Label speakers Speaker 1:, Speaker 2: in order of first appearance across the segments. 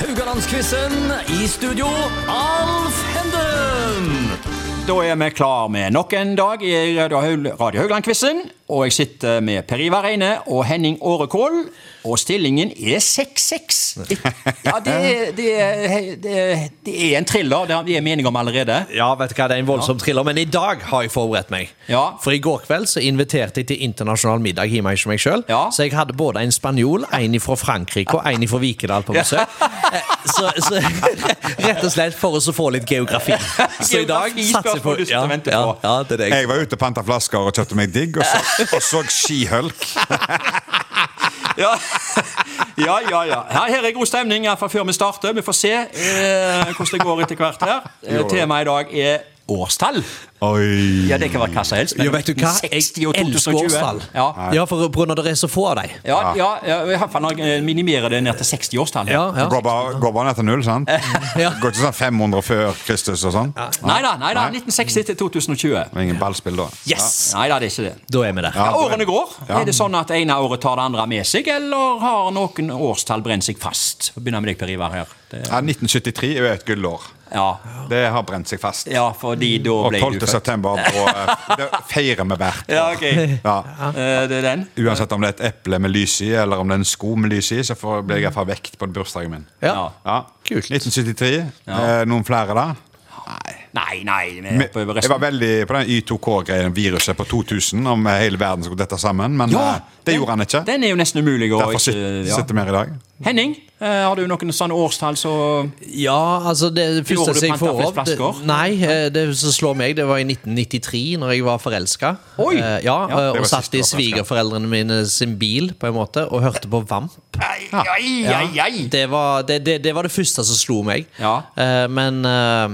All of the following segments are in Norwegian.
Speaker 1: Rogalandsquizen. I studio, Alf Henden.
Speaker 2: Da er vi klar med nok en dag i Radio Haul- Radio Haugland-quizen. Og jeg sitter med Per Ivar Reine og Henning Årekål. Og stillingen er 6-6. Ja, det, er- det, er- det, er- det er en thriller. Det er vi er meningen om allerede.
Speaker 3: Ja, vet du hva, det er en voldsom thriller, men i dag har jeg forberedt meg.
Speaker 2: Ja.
Speaker 3: For i går kveld så inviterte jeg til internasjonal middag hjemme hos meg sjøl.
Speaker 2: Ja.
Speaker 3: Så jeg hadde både en spanjol, en fra Frankrike og en fra Vikedal på besøk. Eh, Så, så rett og slett for oss å få litt geografi. Så i dag
Speaker 2: Geografi
Speaker 3: satser jeg på
Speaker 2: spørsmål du sitter
Speaker 3: ja,
Speaker 2: og venter
Speaker 3: ja,
Speaker 2: på.
Speaker 3: ja, det er det jeg
Speaker 4: Jeg var ute og panta flasker og kjøpte meg digg, og så, og så skihølk.
Speaker 2: Ja, ja, ja. ja. Her, her er god stemning i hvert fall før vi starter. Vi får se eh, hvordan det går etter hvert her. Eh, Temaet i dag er årstall.
Speaker 4: Oi.
Speaker 2: Ja, det kan være hva som helst. men
Speaker 3: Jo, vet du hva?
Speaker 2: 1960
Speaker 3: Jeg
Speaker 2: og
Speaker 3: elsker
Speaker 2: 2020.
Speaker 3: årstall.
Speaker 2: Ja.
Speaker 3: Ja, for på grunn av det er så få av dem.
Speaker 2: Ja, ja, ja, i hvert fall når jeg minimerer det ned til 60-årstallet.
Speaker 3: Ja, ja.
Speaker 4: Går bare, går bare ned til null, sant?
Speaker 3: Ja.
Speaker 4: Går ikke sånn 500 før Kristus og sånn?
Speaker 2: Nei da, nei da. 1960 til 2020.
Speaker 4: Og ingen ballspill da?
Speaker 3: Yes!
Speaker 2: Nei da, det er ikke det.
Speaker 3: Da er vi der.
Speaker 2: Ja, årene går.
Speaker 4: Ja.
Speaker 2: Er det sånn at ene året tar det andre med seg, eller har noen årstall brent seg fast? Begynner med deg, Per Ivar. her. Det,
Speaker 4: Ja, 1973 er jo et gullår.
Speaker 2: ja.
Speaker 4: Det har brent seg fast.
Speaker 2: ja, fordi da
Speaker 4: Og
Speaker 2: ble
Speaker 4: 12.
Speaker 2: du født.
Speaker 4: september og, eh, det feirer vi hvert
Speaker 2: Ja,
Speaker 4: år.
Speaker 2: ok.
Speaker 4: Ja.
Speaker 2: Eh, det er den.
Speaker 4: Uansett om det er et eple med lys i, eller om det er en sko med lys i, så får- blir jeg iallfall vekt på bursdagen min.
Speaker 2: Ja.
Speaker 3: Ja.
Speaker 4: Ja.
Speaker 3: Kult.
Speaker 4: 1973. Eh, noen flere, da?
Speaker 2: Nei, nei. Vi er
Speaker 4: Men
Speaker 2: oppe over
Speaker 4: Jeg var
Speaker 2: resten.
Speaker 4: veldig på den Y2K-greien, viruset på 2000, om hele verden skulle dette sammen, men eh, det
Speaker 2: den-
Speaker 4: gjorde han ikke.
Speaker 2: Den er jo nesten umulig å
Speaker 4: Derfor sit-
Speaker 2: ikke- ja.
Speaker 4: sitter vi her i dag.
Speaker 2: Henning, eh, har du noen sånne årstall så
Speaker 3: Ja, altså det
Speaker 2: Gjorde
Speaker 3: første
Speaker 2: du
Speaker 3: som jeg
Speaker 2: panta
Speaker 3: får
Speaker 2: flest
Speaker 3: opp det,
Speaker 2: flasker?
Speaker 3: Nei, eh, det som slår meg, det var i 1993, når jeg var forelska.
Speaker 2: Oi!
Speaker 3: Eh, Ja,
Speaker 2: Ja,
Speaker 3: eh,
Speaker 4: det
Speaker 3: og
Speaker 4: var
Speaker 3: satt
Speaker 4: siste
Speaker 3: i
Speaker 4: du var forelsket.
Speaker 3: svigerforeldrene mine sin bil på en måte og hørte på Vamp.
Speaker 2: Ai, ai,
Speaker 3: Ja.
Speaker 2: ai, ai.
Speaker 3: Det, var, det, det, det var det første som slo meg.
Speaker 2: Ja.
Speaker 3: Eh, Men eh,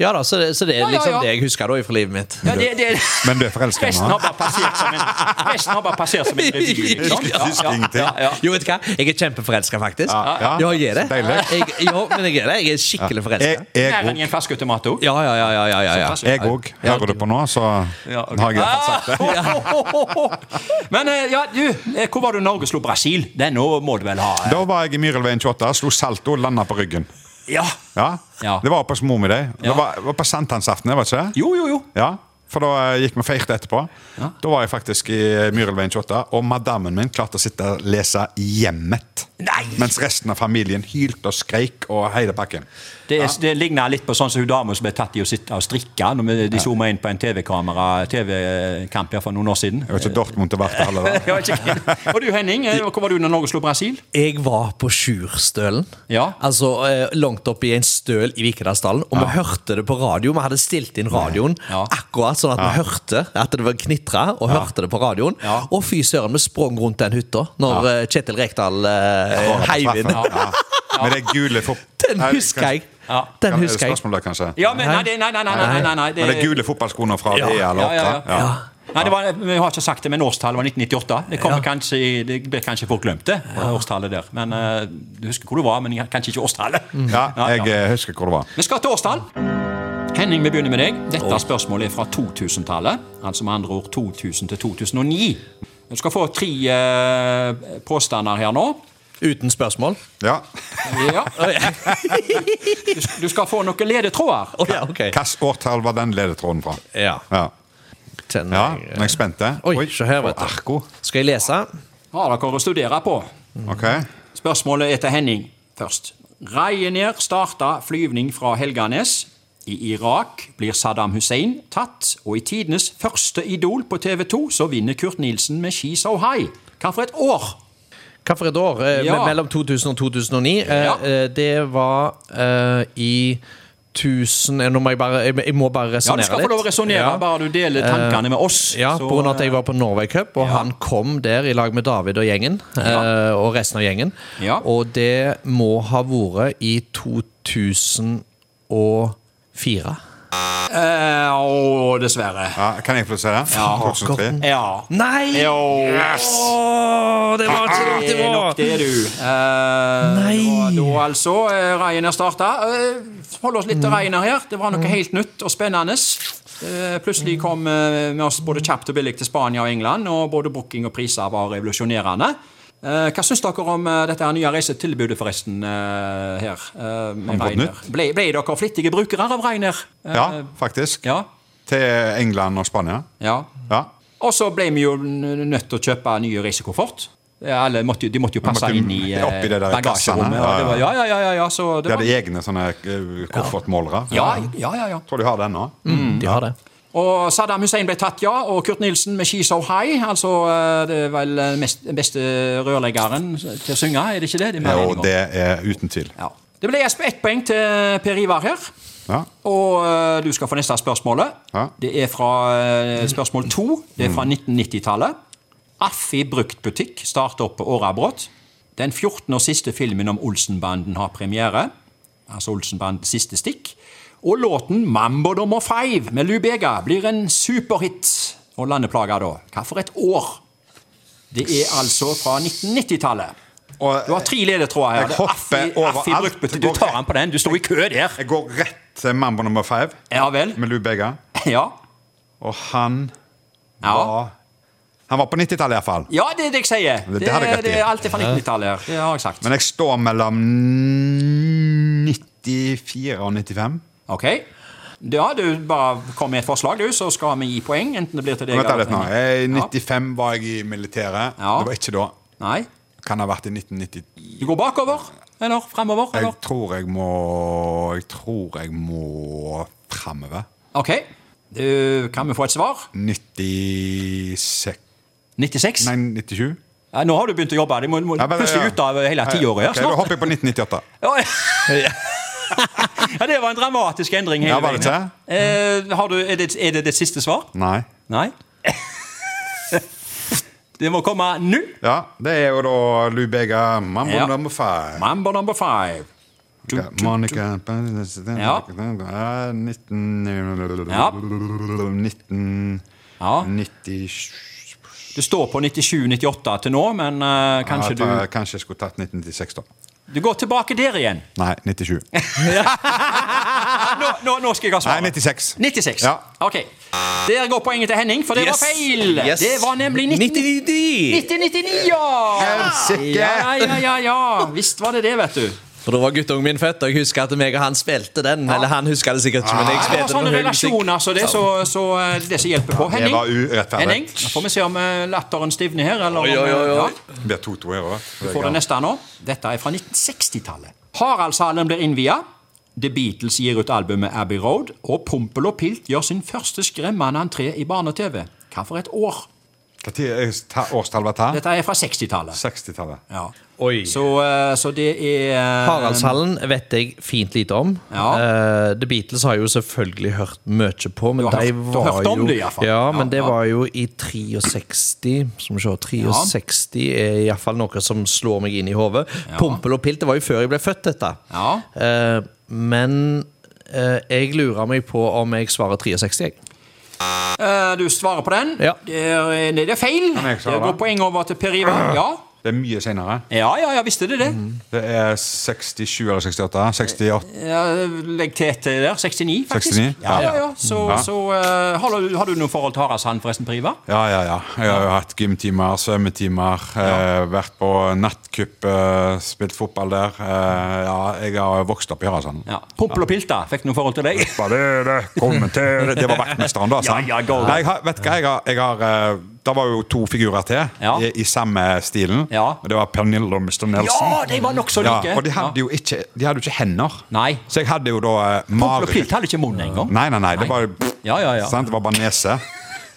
Speaker 3: Ja da, så det, så det er
Speaker 2: Ja, ja,
Speaker 3: liksom
Speaker 2: ja.
Speaker 3: det jeg husker da fra livet mitt.
Speaker 2: Ja, det, det.
Speaker 4: Men du er forelska i
Speaker 2: Resten har bare
Speaker 4: ham?
Speaker 2: passert som en, resten har bare passert som en revy. Liksom.
Speaker 4: Jeg husker ingenting.
Speaker 2: ja.
Speaker 3: Jo, vet du hva? Jeg er kjempeforelska, faktisk.
Speaker 4: Ja, ja.
Speaker 3: jeg er det.
Speaker 4: Så deilig.
Speaker 3: Jeg, ja, men jeg er det. Jeg er skikkelig
Speaker 4: Jeg
Speaker 3: forelska.
Speaker 2: Mer enn
Speaker 4: òg.
Speaker 2: i en flaskeautomat òg.
Speaker 3: Ja, ja, ja. ja, ja, ja, ja.
Speaker 4: Jeg òg. Hører du på nå, så har jeg i hvert fall sagt det.
Speaker 2: Men eh, ja, du, eh, hvor var du Norge slo Brasil? Den nå må du vel ha? eh.
Speaker 4: Da var jeg i Myrelveien 28, slo salto og landa på ryggen.
Speaker 2: Ja.
Speaker 4: Ja?
Speaker 2: Ja.
Speaker 4: Det var oppe hos mor mi, det.
Speaker 2: Ja.
Speaker 4: Det var, var på sankthansaften, det, var ikke det?
Speaker 2: Jo, jo, jo.
Speaker 4: Ja. For da eh, gikk vi og feirte etterpå. Da var jeg faktisk i Myrelveien 28, og madammen min klarte å sitte og lese Hjemmet.
Speaker 2: Nei!
Speaker 4: Mens resten av familien hylte og skreik og hele pakken.
Speaker 2: Det, er, det ligner litt på sånn som hun dama som ble tatt i å sitte og strikke når vi- de zooma inn på en TV-kamera TV-kamp her for noen år siden.
Speaker 4: Jeg vet ikke Dortmund og Varte heller. da.
Speaker 2: Ja, ikke- Og du Henning, eh, hvor var du når Norge slo Brasil?
Speaker 3: Jeg var på Sjurstølen.
Speaker 2: Ja.
Speaker 3: Altså eh, langt opp i en støl i Vikedalsdalen. Og vi hørte det på radio. Vi hadde stilt inn radioen
Speaker 2: Ja.
Speaker 3: akkurat sånn at vi hørte at det var knitra, og hørte det på radioen.
Speaker 2: Ja.
Speaker 3: Og fy søren, vi sprang rundt den hytta når eh, Kjetil Rekdal eh, heiv inn.
Speaker 4: Ja. Med det gule fot...
Speaker 3: Den
Speaker 4: Nei,
Speaker 3: husker jeg.
Speaker 2: Ja.
Speaker 3: Den husker jeg.
Speaker 4: Spørsmålet, kanskje?
Speaker 2: Ja, men nei, det- nei, nei, nei, nei, nei, nei,
Speaker 4: Men det er gule fotballskoene fra ja. DL8.
Speaker 2: Ja, ja, ja.
Speaker 4: Ja.
Speaker 2: Nei, det var, Vi har ikke sagt det, men årstallet var 1998. Det, kommer kanskje, i- det blir kanskje folk glemt, det. årstallet der. Men eh, Du husker hvor du var, men jeg- kanskje ikke årstallet.
Speaker 4: Ja, jeg
Speaker 2: ja.
Speaker 4: eh, husker hvor det var.
Speaker 2: Vi skal til årstall. Henning, vi begynner med deg. Dette spørsmålet er fra 2000-tallet. Altså med andre ord 2000 til 2009. Du skal få tre eh, påstander her nå.
Speaker 3: Uten spørsmål.
Speaker 4: Ja.
Speaker 2: Ja. Du, du skal få noen ledetråder.
Speaker 3: Å ja, ok.
Speaker 4: Hvilket årtall var den ledetråden fra?
Speaker 3: Ja.
Speaker 4: Ja, ja
Speaker 3: Kjenner
Speaker 4: Nå er jeg spent. eh. det.
Speaker 3: Oi, se her, vet du.
Speaker 4: Arko.
Speaker 3: Skal jeg lese?
Speaker 2: Har dere å studere på?
Speaker 4: Ok.
Speaker 2: Spørsmålet er til Henning først. Ryanair starta flyvning fra Helganes. I Irak blir Saddam Hussein tatt, og i tidenes første Idol på TV 2 så vinner Kurt Nilsen med She's So High. Hva for et år?
Speaker 3: Hva for et år? Eh,
Speaker 2: Ja.
Speaker 3: me- Mellom 2000 og 2009. Eh,
Speaker 2: Ja.
Speaker 3: eh, Det var eh, i 1000 eh, Nå må jeg bare Jeg, jeg må bare
Speaker 2: Ja,
Speaker 3: resonnere
Speaker 2: du
Speaker 3: litt.
Speaker 2: skal få lov å resonnere,
Speaker 3: Ja. Eh,
Speaker 2: bare du deler tankene med oss.
Speaker 3: Ja,
Speaker 2: Så,
Speaker 3: pga. at jeg var på Norway Cup, og han kom der i lag med David og gjengen. eh, Og resten av gjengen.
Speaker 2: Ja.
Speaker 3: Og det må ha vært i 2004.
Speaker 2: eh, Å, dessverre.
Speaker 4: Ja, kan jeg få se det?
Speaker 2: Ja.
Speaker 4: 2003.
Speaker 2: Ja.
Speaker 3: Nei!
Speaker 2: Jo.
Speaker 3: Åh, det var ikke riktig!
Speaker 2: Det er nok det, du. Eh,
Speaker 3: Nei.
Speaker 2: det var Da altså, eh, Ryanair starta. Eh, hold oss
Speaker 4: Mm.
Speaker 2: litt til Ryanair her. Det var noe helt nytt og spennende. Eh, plutselig
Speaker 4: Mm.
Speaker 2: kom eh, med oss både kjapt og billig til Spania og England, og både booking og priser var revolusjonerende. Eh, hva syns dere om eh, dette her nye reisetilbudet, forresten? eh, her? eh, med
Speaker 4: Har vi fått
Speaker 2: Ryanair?
Speaker 4: nytt?
Speaker 2: Ble, ble dere flittige brukere av Reiner?
Speaker 4: Ja, faktisk.
Speaker 2: Eh, ja.
Speaker 4: Til England og Spania.
Speaker 2: ja.
Speaker 4: Ja.
Speaker 2: Og så ble vi jo n- nødt til å kjøpe nye reisekoffert. Alle måtte, jo- de måtte jo passe
Speaker 4: måtte jo
Speaker 2: inn i eh,
Speaker 4: oppi det der kassene,
Speaker 2: bagasjerommet.
Speaker 4: ja,
Speaker 2: og det var- Ja,
Speaker 4: ja.
Speaker 2: ja, ja, ja, ja, så det
Speaker 4: De
Speaker 2: var,
Speaker 4: hadde egne sånne eh, koffertmålere.
Speaker 2: ja, Mm. ja, ja, ja.
Speaker 4: Tror de har det ennå.
Speaker 3: De har det.
Speaker 2: Og Saddam Hussein ble tatt, ja. Og Kurt Nilsen med 'She's So High'. Altså, eh, det er vel eh, mest, den beste rørleggeren til å synge, er det ikke det? det, er mer
Speaker 4: Og
Speaker 2: enige om.
Speaker 4: det er uten tvil.
Speaker 2: Ja. Det ble Jesper ett poeng til Per Ivar her.
Speaker 4: Ja.
Speaker 2: Og eh, du skal få neste spørsmålet.
Speaker 4: Ja. Mm.
Speaker 2: Det er fra eh, spørsmål to. Det er fra 1990-tallet. Affi bruktbutikk starter opp på Årabrot. Den 14. og siste filmen om Olsenbanden har premiere. Altså Olsenbandens siste stikk. Og låten 'Mambo nummer five' med Lubega blir en superhit. Og landeplaga, da. Hva for et år? Det er altså fra 1990-tallet.
Speaker 4: Og
Speaker 2: Du har tre ledetråder her.
Speaker 4: Jeg
Speaker 2: Det er
Speaker 4: hopper
Speaker 2: Affi-
Speaker 4: over
Speaker 2: Affi
Speaker 4: alt.
Speaker 2: bruktbutikk. Du tar den på den. Du sto i kø der.
Speaker 4: jeg går rett til Mambo nummer five
Speaker 2: Ja vel.
Speaker 4: med Lou Bega.
Speaker 2: Ja.
Speaker 4: Og han
Speaker 2: Ja,
Speaker 4: var Han var på 90-tallet iallfall.
Speaker 2: ja det er det jeg sier.
Speaker 4: Det- det hadde jeg rett i.
Speaker 2: det er alt er fra 1990-tallet her. Det har jeg sagt.
Speaker 4: Men jeg står mellom 94 og 95.
Speaker 2: Ok. Ja, du bare kom med et forslag, du, så skal vi gi poeng. Enten det blir til deg
Speaker 4: Vent da
Speaker 2: eller
Speaker 4: litt nå.
Speaker 2: til
Speaker 4: I
Speaker 2: meg.
Speaker 4: 95 var jeg i militæret.
Speaker 2: Ja.
Speaker 4: Det var ikke da.
Speaker 2: Ja. Nei.
Speaker 4: Kan ha vært i 1990.
Speaker 2: Du går bakover? Eller fremover?
Speaker 4: Jeg
Speaker 2: Eller?
Speaker 4: tror jeg må Jeg tror jeg må framover.
Speaker 2: Ok. Du, kan vi få et svar?
Speaker 4: 96
Speaker 2: 96?
Speaker 4: Nei, 97?
Speaker 2: Ja, nå har du begynt å jobbe. Du må, må
Speaker 4: Ja, men-
Speaker 2: plutselig
Speaker 4: ja.
Speaker 2: ut av hele tiåret
Speaker 4: Ok,
Speaker 2: her
Speaker 4: Da
Speaker 2: snart.
Speaker 4: hopper jeg på 1998.
Speaker 2: Ja, ja. ja, det var en dramatisk endring hele
Speaker 4: Ja, var det
Speaker 2: veien. Eh, har du, er, det, er det det siste svar?
Speaker 4: Nei.
Speaker 2: Nei? det må komme nå.
Speaker 4: Ja, det er jo da Lou Bega, Mambo
Speaker 2: Ja.
Speaker 4: number five.
Speaker 2: Mambo number five.
Speaker 4: Ja, Monica
Speaker 2: Ja.
Speaker 4: Ja, 19...
Speaker 2: Ja.
Speaker 4: 1997
Speaker 2: Ja, Du står på 97-98 til nå, men eh, kanskje
Speaker 4: ja, ta- Kanskje jeg skulle tatt 1996, da.
Speaker 2: du Du går tilbake der igjen.
Speaker 4: Nei, 97.
Speaker 2: nå, nå, nå skal jeg ha
Speaker 4: Nei,
Speaker 2: svaret.
Speaker 4: 96.
Speaker 2: 96.
Speaker 4: Ja.
Speaker 2: Ok. Der går poenget til Henning, for det
Speaker 3: Yes.
Speaker 2: var feil.
Speaker 3: Yes.
Speaker 2: Det var nemlig 19...
Speaker 3: 99!
Speaker 2: 1999, ja!
Speaker 4: Helsike!
Speaker 2: Ja, ja, ja, ja. Visst var det det, vet du.
Speaker 3: For da var guttungen min født, og jeg husker at meg og han spilte den. Eller han husker det sikkert ikke, men jeg
Speaker 2: Nei, Ah, det
Speaker 3: spilte
Speaker 2: var
Speaker 3: den
Speaker 2: sånne
Speaker 3: på høy musikk.
Speaker 2: relasjoner, så det, så, så eh, det som hjelper på. Henning,
Speaker 4: var urettferdig.
Speaker 2: Henning, nå får vi se om eh, latteren stivner her. Eller
Speaker 3: Oi,
Speaker 2: om,
Speaker 3: oi, oi,
Speaker 2: eh,
Speaker 3: oi.
Speaker 2: ja.
Speaker 4: Det blir 2-2 her
Speaker 2: Vi får det
Speaker 4: òg.
Speaker 2: neste nå. Dette er fra 1960-tallet. Haraldshallen blir innvia. The Beatles gir ut albumet Abbey Road, og Pompel og Pilt gjør sin første skremmende entré i barne-TV. Hva for et år?
Speaker 4: Årstall var det?
Speaker 2: Dette er fra 60-tallet.
Speaker 4: 60-tallet.
Speaker 2: Ja.
Speaker 3: Oi.
Speaker 2: Så, eh, så det er eh,
Speaker 3: Haraldshallen vet jeg fint lite om.
Speaker 2: Ja.
Speaker 3: Eh, The Beatles har jeg jo selvfølgelig hørt mye på, men
Speaker 2: Du har
Speaker 3: de
Speaker 2: hørt- du har
Speaker 3: var
Speaker 2: hørt om
Speaker 3: jo
Speaker 2: det i hvert fall.
Speaker 3: Ja,
Speaker 2: Ja,
Speaker 3: men det
Speaker 2: ja.
Speaker 3: var jo i 63 Som se, 63 er iallfall noe som slår meg inn i hodet. Pompel og pilt, det var jo før jeg ble født, dette.
Speaker 2: Ja.
Speaker 3: Eh, men eh, jeg lurer meg på om jeg svarer 63, jeg.
Speaker 2: eh, Du svarer på den.
Speaker 3: Ja.
Speaker 2: Det, er, eh, det er feil.
Speaker 4: Kan jeg
Speaker 2: Det
Speaker 4: svare?
Speaker 2: går poeng over til Per Ivar. Ja.
Speaker 4: Det er mye senere.
Speaker 2: Ja, ja, ja, visste det det.
Speaker 4: Det er 67 eller 68? 68.
Speaker 2: Ja, legg til etter der. 69, faktisk.
Speaker 4: 69?
Speaker 2: Ja, ja, ja.
Speaker 4: Ja.
Speaker 2: Så,
Speaker 4: Ja.
Speaker 2: så eh, har, du, har du noe forhold til Haraldshand, forresten, Per Ivar?
Speaker 4: Ja, ja, ja. Jeg har jo hatt gymtimer, svømmetimer, eh, vært på nattcup, eh, spilt fotball der. Eh, ja, jeg har vokst opp i Haraldsand.
Speaker 2: Ja. Pompel og Pilta, fikk noe forhold til deg?
Speaker 4: Bare det, kommenter Det var vaktmesteren, da. sant?
Speaker 2: Ja, ja, go, go.
Speaker 4: Nei, jeg har, vet du hva, jeg har, jeg har eh, Det var jo to figurer til
Speaker 2: Ja.
Speaker 4: i, i samme stilen.
Speaker 2: Ja.
Speaker 4: Og Det var Pernille og Mr. Nelson.
Speaker 2: Ja, de var nokså like.
Speaker 4: Ja, og de hadde jo ikke, de hadde jo ikke hender.
Speaker 2: Nei.
Speaker 4: Så jeg hadde jo da eh,
Speaker 2: Pompel og Pilt
Speaker 4: mareritt.
Speaker 2: hadde ikke munn engang.
Speaker 4: Nei, nei, nei. Det var, jo-
Speaker 2: Ja, ja, ja.
Speaker 4: Sant? Det var bare nese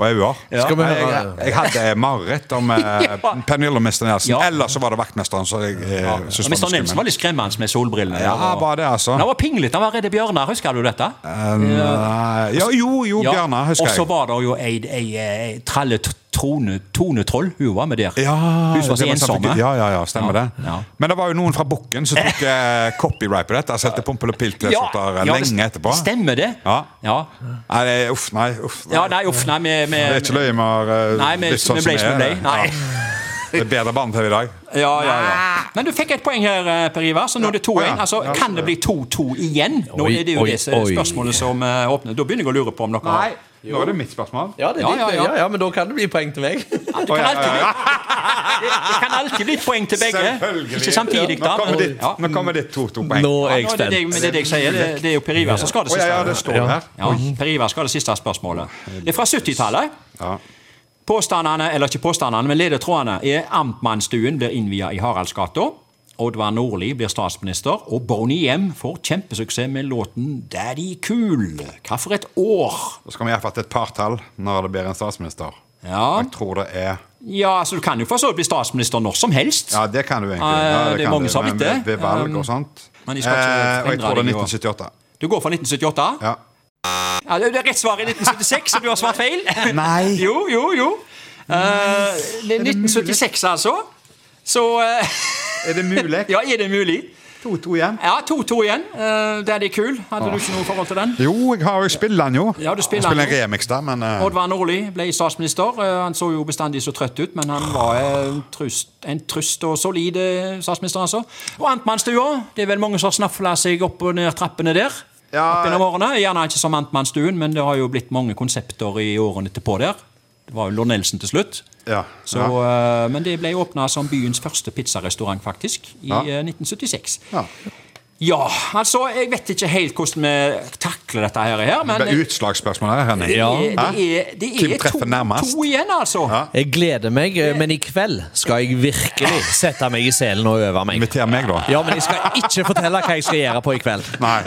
Speaker 4: og øyne.
Speaker 3: Skal vi
Speaker 4: Nei, jeg,
Speaker 3: høre?
Speaker 4: jeg, hadde mareritt om eh,
Speaker 2: Ja.
Speaker 4: Pernille og Mr. Nelson.
Speaker 2: Ja.
Speaker 4: Eller så var det vaktmesteren. Så jeg, eh, synes
Speaker 2: Og Mr.
Speaker 4: var
Speaker 2: Nilsen var litt skremmende med solbrillene.
Speaker 4: Ja,
Speaker 2: der, og-
Speaker 4: var det, altså.
Speaker 2: Men Han var pinglete, han var redd bjørner, husker du dette?
Speaker 4: Nei, Eh, ja, jo, jo,
Speaker 2: Ja.
Speaker 4: Bjarne, husker
Speaker 2: Og så
Speaker 4: jeg.
Speaker 2: var det jo ei, ei, ei tralle t- trone, tonetroll, hun var med der.
Speaker 4: Ja,
Speaker 2: hun som var så eh?
Speaker 4: det var
Speaker 2: ensomme.
Speaker 4: samtidig- Ja, ja, ja, stemmer
Speaker 2: Ja,
Speaker 4: det.
Speaker 2: ja.
Speaker 4: Men det var jo noen fra Bukken som tok eh, copyright på dette. Sette Pompel og eh, Pilt-T-skjorter
Speaker 2: ja, det
Speaker 4: lenge etterpå.
Speaker 2: Stemmer det?
Speaker 4: Ja.
Speaker 2: Ja,
Speaker 4: Nei, det er- uff, nei. uff
Speaker 2: Ja, nei, uff, nei, vi, vi
Speaker 4: Det er ikke løye vi har eh,
Speaker 2: Nei, vi,
Speaker 4: blitt sånn
Speaker 2: vi ble som vi ble.
Speaker 4: Ja.
Speaker 2: Nei.
Speaker 4: Det er bedre barne-TV i dag.
Speaker 2: Ja, ja, ja. Men du fikk et poeng her, eh, Per Ivar, så nå er det 2-1.
Speaker 4: Å, Ah. ja.
Speaker 2: Altså,
Speaker 4: Ja.
Speaker 2: kan det bli 2-2 igjen? Nå
Speaker 3: Oi,
Speaker 2: er det jo
Speaker 3: oi,
Speaker 2: det som-
Speaker 3: oi.
Speaker 2: spørsmålet som eh, åpner. Da begynner jeg å lure på om dere har
Speaker 4: Nå er det mitt spørsmål.
Speaker 3: Ja, det er
Speaker 2: Ja,
Speaker 3: ditt,
Speaker 2: ja,
Speaker 3: det.
Speaker 2: ja.
Speaker 3: ja, ja, men da kan det bli poeng til meg.
Speaker 2: Ja, Det kan alltid bli, det kan alltid bli et poeng til begge. Ikke samtidig, da.
Speaker 4: Nå kommer
Speaker 2: men-
Speaker 4: ditt,
Speaker 2: ja.
Speaker 4: nå kommer ditt
Speaker 3: Nå
Speaker 2: Ja,
Speaker 4: to-to-poeng.
Speaker 3: er
Speaker 2: nå
Speaker 3: jeg
Speaker 2: er det, det,
Speaker 3: spent.
Speaker 2: men det er det jeg sier. Det, det er jo Per Ivar som skal ha det
Speaker 4: Å, ja,
Speaker 2: siste.
Speaker 4: ja, det står det her.
Speaker 2: Ja, per Ivar skal ha det siste spørsmålet. Det er fra 70-tallet.
Speaker 4: Ja.
Speaker 2: Påstandene, eller ikke påstandene, men ledetrådene er Amtmannsstuen blir innviet i Haraldsgata. Oddvar Nordli blir statsminister, og Bonnie Hjem får kjempesuksess med låten 'Daddy Cool'. Hva for et år?
Speaker 4: Da skal vi iallfall til et par tall når det blir en statsminister.
Speaker 2: Ja,
Speaker 4: Jeg tror det er
Speaker 2: ja så Du kan jo for så vidt bli statsminister når som helst.
Speaker 4: Ja, det kan du egentlig.
Speaker 2: Eh,
Speaker 4: Ja,
Speaker 2: det er
Speaker 4: kan
Speaker 2: mange
Speaker 4: du,
Speaker 2: som har
Speaker 4: men
Speaker 2: blitt det.
Speaker 4: Ved, ved valg
Speaker 2: Um,
Speaker 4: og sånt.
Speaker 2: men de skal ikke
Speaker 4: Eh, og jeg
Speaker 2: forhindre
Speaker 4: tror det er
Speaker 2: deg i å-
Speaker 4: 1978.
Speaker 2: Du går for 1978.
Speaker 4: Ja.
Speaker 2: Ja, det er rett svar i 1976, så du har svart feil.
Speaker 4: Nei.
Speaker 2: Jo, jo, jo. Eh, det er 1976, altså. Så eh,
Speaker 4: Er det mulig?
Speaker 2: ja, er det mulig?
Speaker 4: 2-2 igjen.
Speaker 2: Ja, 2-2 igjen. Eh, Daddy Cool. Hadde du ikke noe forhold til den?
Speaker 4: Jo, jeg har jo spiller den jo.
Speaker 2: Ja, du spiller
Speaker 4: jeg spiller
Speaker 2: den
Speaker 4: en remix da, men eh,
Speaker 2: Oddvar Nordli ble statsminister. Eh, Han så jo bestandig så trøtt ut, men han var eh, en trøst, en trøst og solid eh, statsminister, altså. Og Amtmannsstua. Det er vel mange som har snafla seg opp og ned trappene der.
Speaker 4: Ja.
Speaker 2: opp gjennom årene. Gjerne ikke som Amtmannsstuen, men det har jo blitt mange konsepter i årene etterpå der. Det var jo Lord Nelson til slutt.
Speaker 4: ja.
Speaker 2: Så,
Speaker 4: ja.
Speaker 2: eh, Men det ble åpna som byens første pizzarestaurant, faktisk, i
Speaker 4: Ja.
Speaker 2: eh, 1976.
Speaker 4: Ja.
Speaker 2: Ja, altså, jeg vet ikke helt hvordan vi takler dette her, her men eh,
Speaker 4: Det er utslagsspørsmål her, Henning.
Speaker 2: det er,
Speaker 4: Hæ?
Speaker 2: det er, det
Speaker 4: Hvem
Speaker 2: er to,
Speaker 4: treffer nærmest?
Speaker 2: to igjen, altså.
Speaker 4: Ja.
Speaker 3: Jeg gleder meg, eh, men i kveld skal jeg virkelig sette meg i selen og øve meg.
Speaker 4: Inviter meg, da.
Speaker 3: Ja, men jeg skal ikke fortelle hva jeg skal gjøre på i kveld.
Speaker 4: Nei.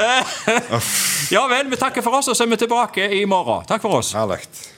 Speaker 2: Ja vel, vi takker for oss, og så er vi tilbake i morgen. Takk for oss.
Speaker 4: Herlig.